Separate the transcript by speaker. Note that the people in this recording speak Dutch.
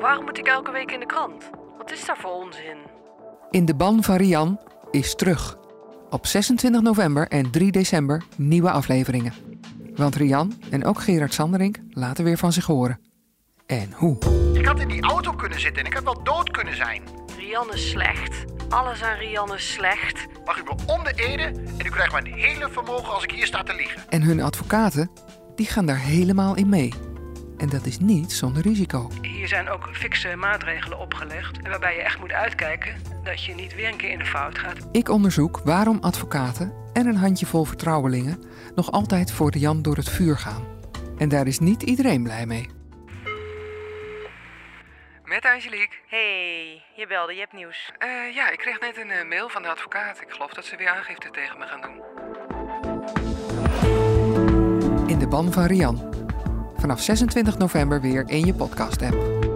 Speaker 1: Waarom moet ik elke week in de krant? Wat is daar voor onzin?
Speaker 2: In de ban van Rian is terug. Op 26 november en 3 december nieuwe afleveringen. Want Rian en ook Gerard Sanderink laten weer van zich horen. En hoe?
Speaker 3: Ik had in die auto kunnen zitten en ik had wel dood kunnen zijn.
Speaker 1: Rianne is slecht. Alles aan Rianne is slecht.
Speaker 3: Mag u me om de ede en u krijgt mijn hele vermogen als ik hier sta te liegen.
Speaker 2: En hun advocaten, die gaan daar helemaal in mee. En dat is niet zonder risico.
Speaker 1: Hier zijn ook fikse maatregelen opgelegd. Waarbij je echt moet uitkijken dat je niet weer een keer in de fout gaat.
Speaker 2: Ik onderzoek waarom advocaten en een handjevol vertrouwelingen nog altijd voor Rian door het vuur gaan. En daar is niet iedereen blij mee. Met Angelique.
Speaker 4: Hey, je belde, je hebt nieuws.
Speaker 2: Eh, ja, ik kreeg net een eh, mail van de advocaat. Ik geloof dat ze weer aangifte tegen me gaan doen. In de ban van Rian. Vanaf 26 november weer in je podcast-app.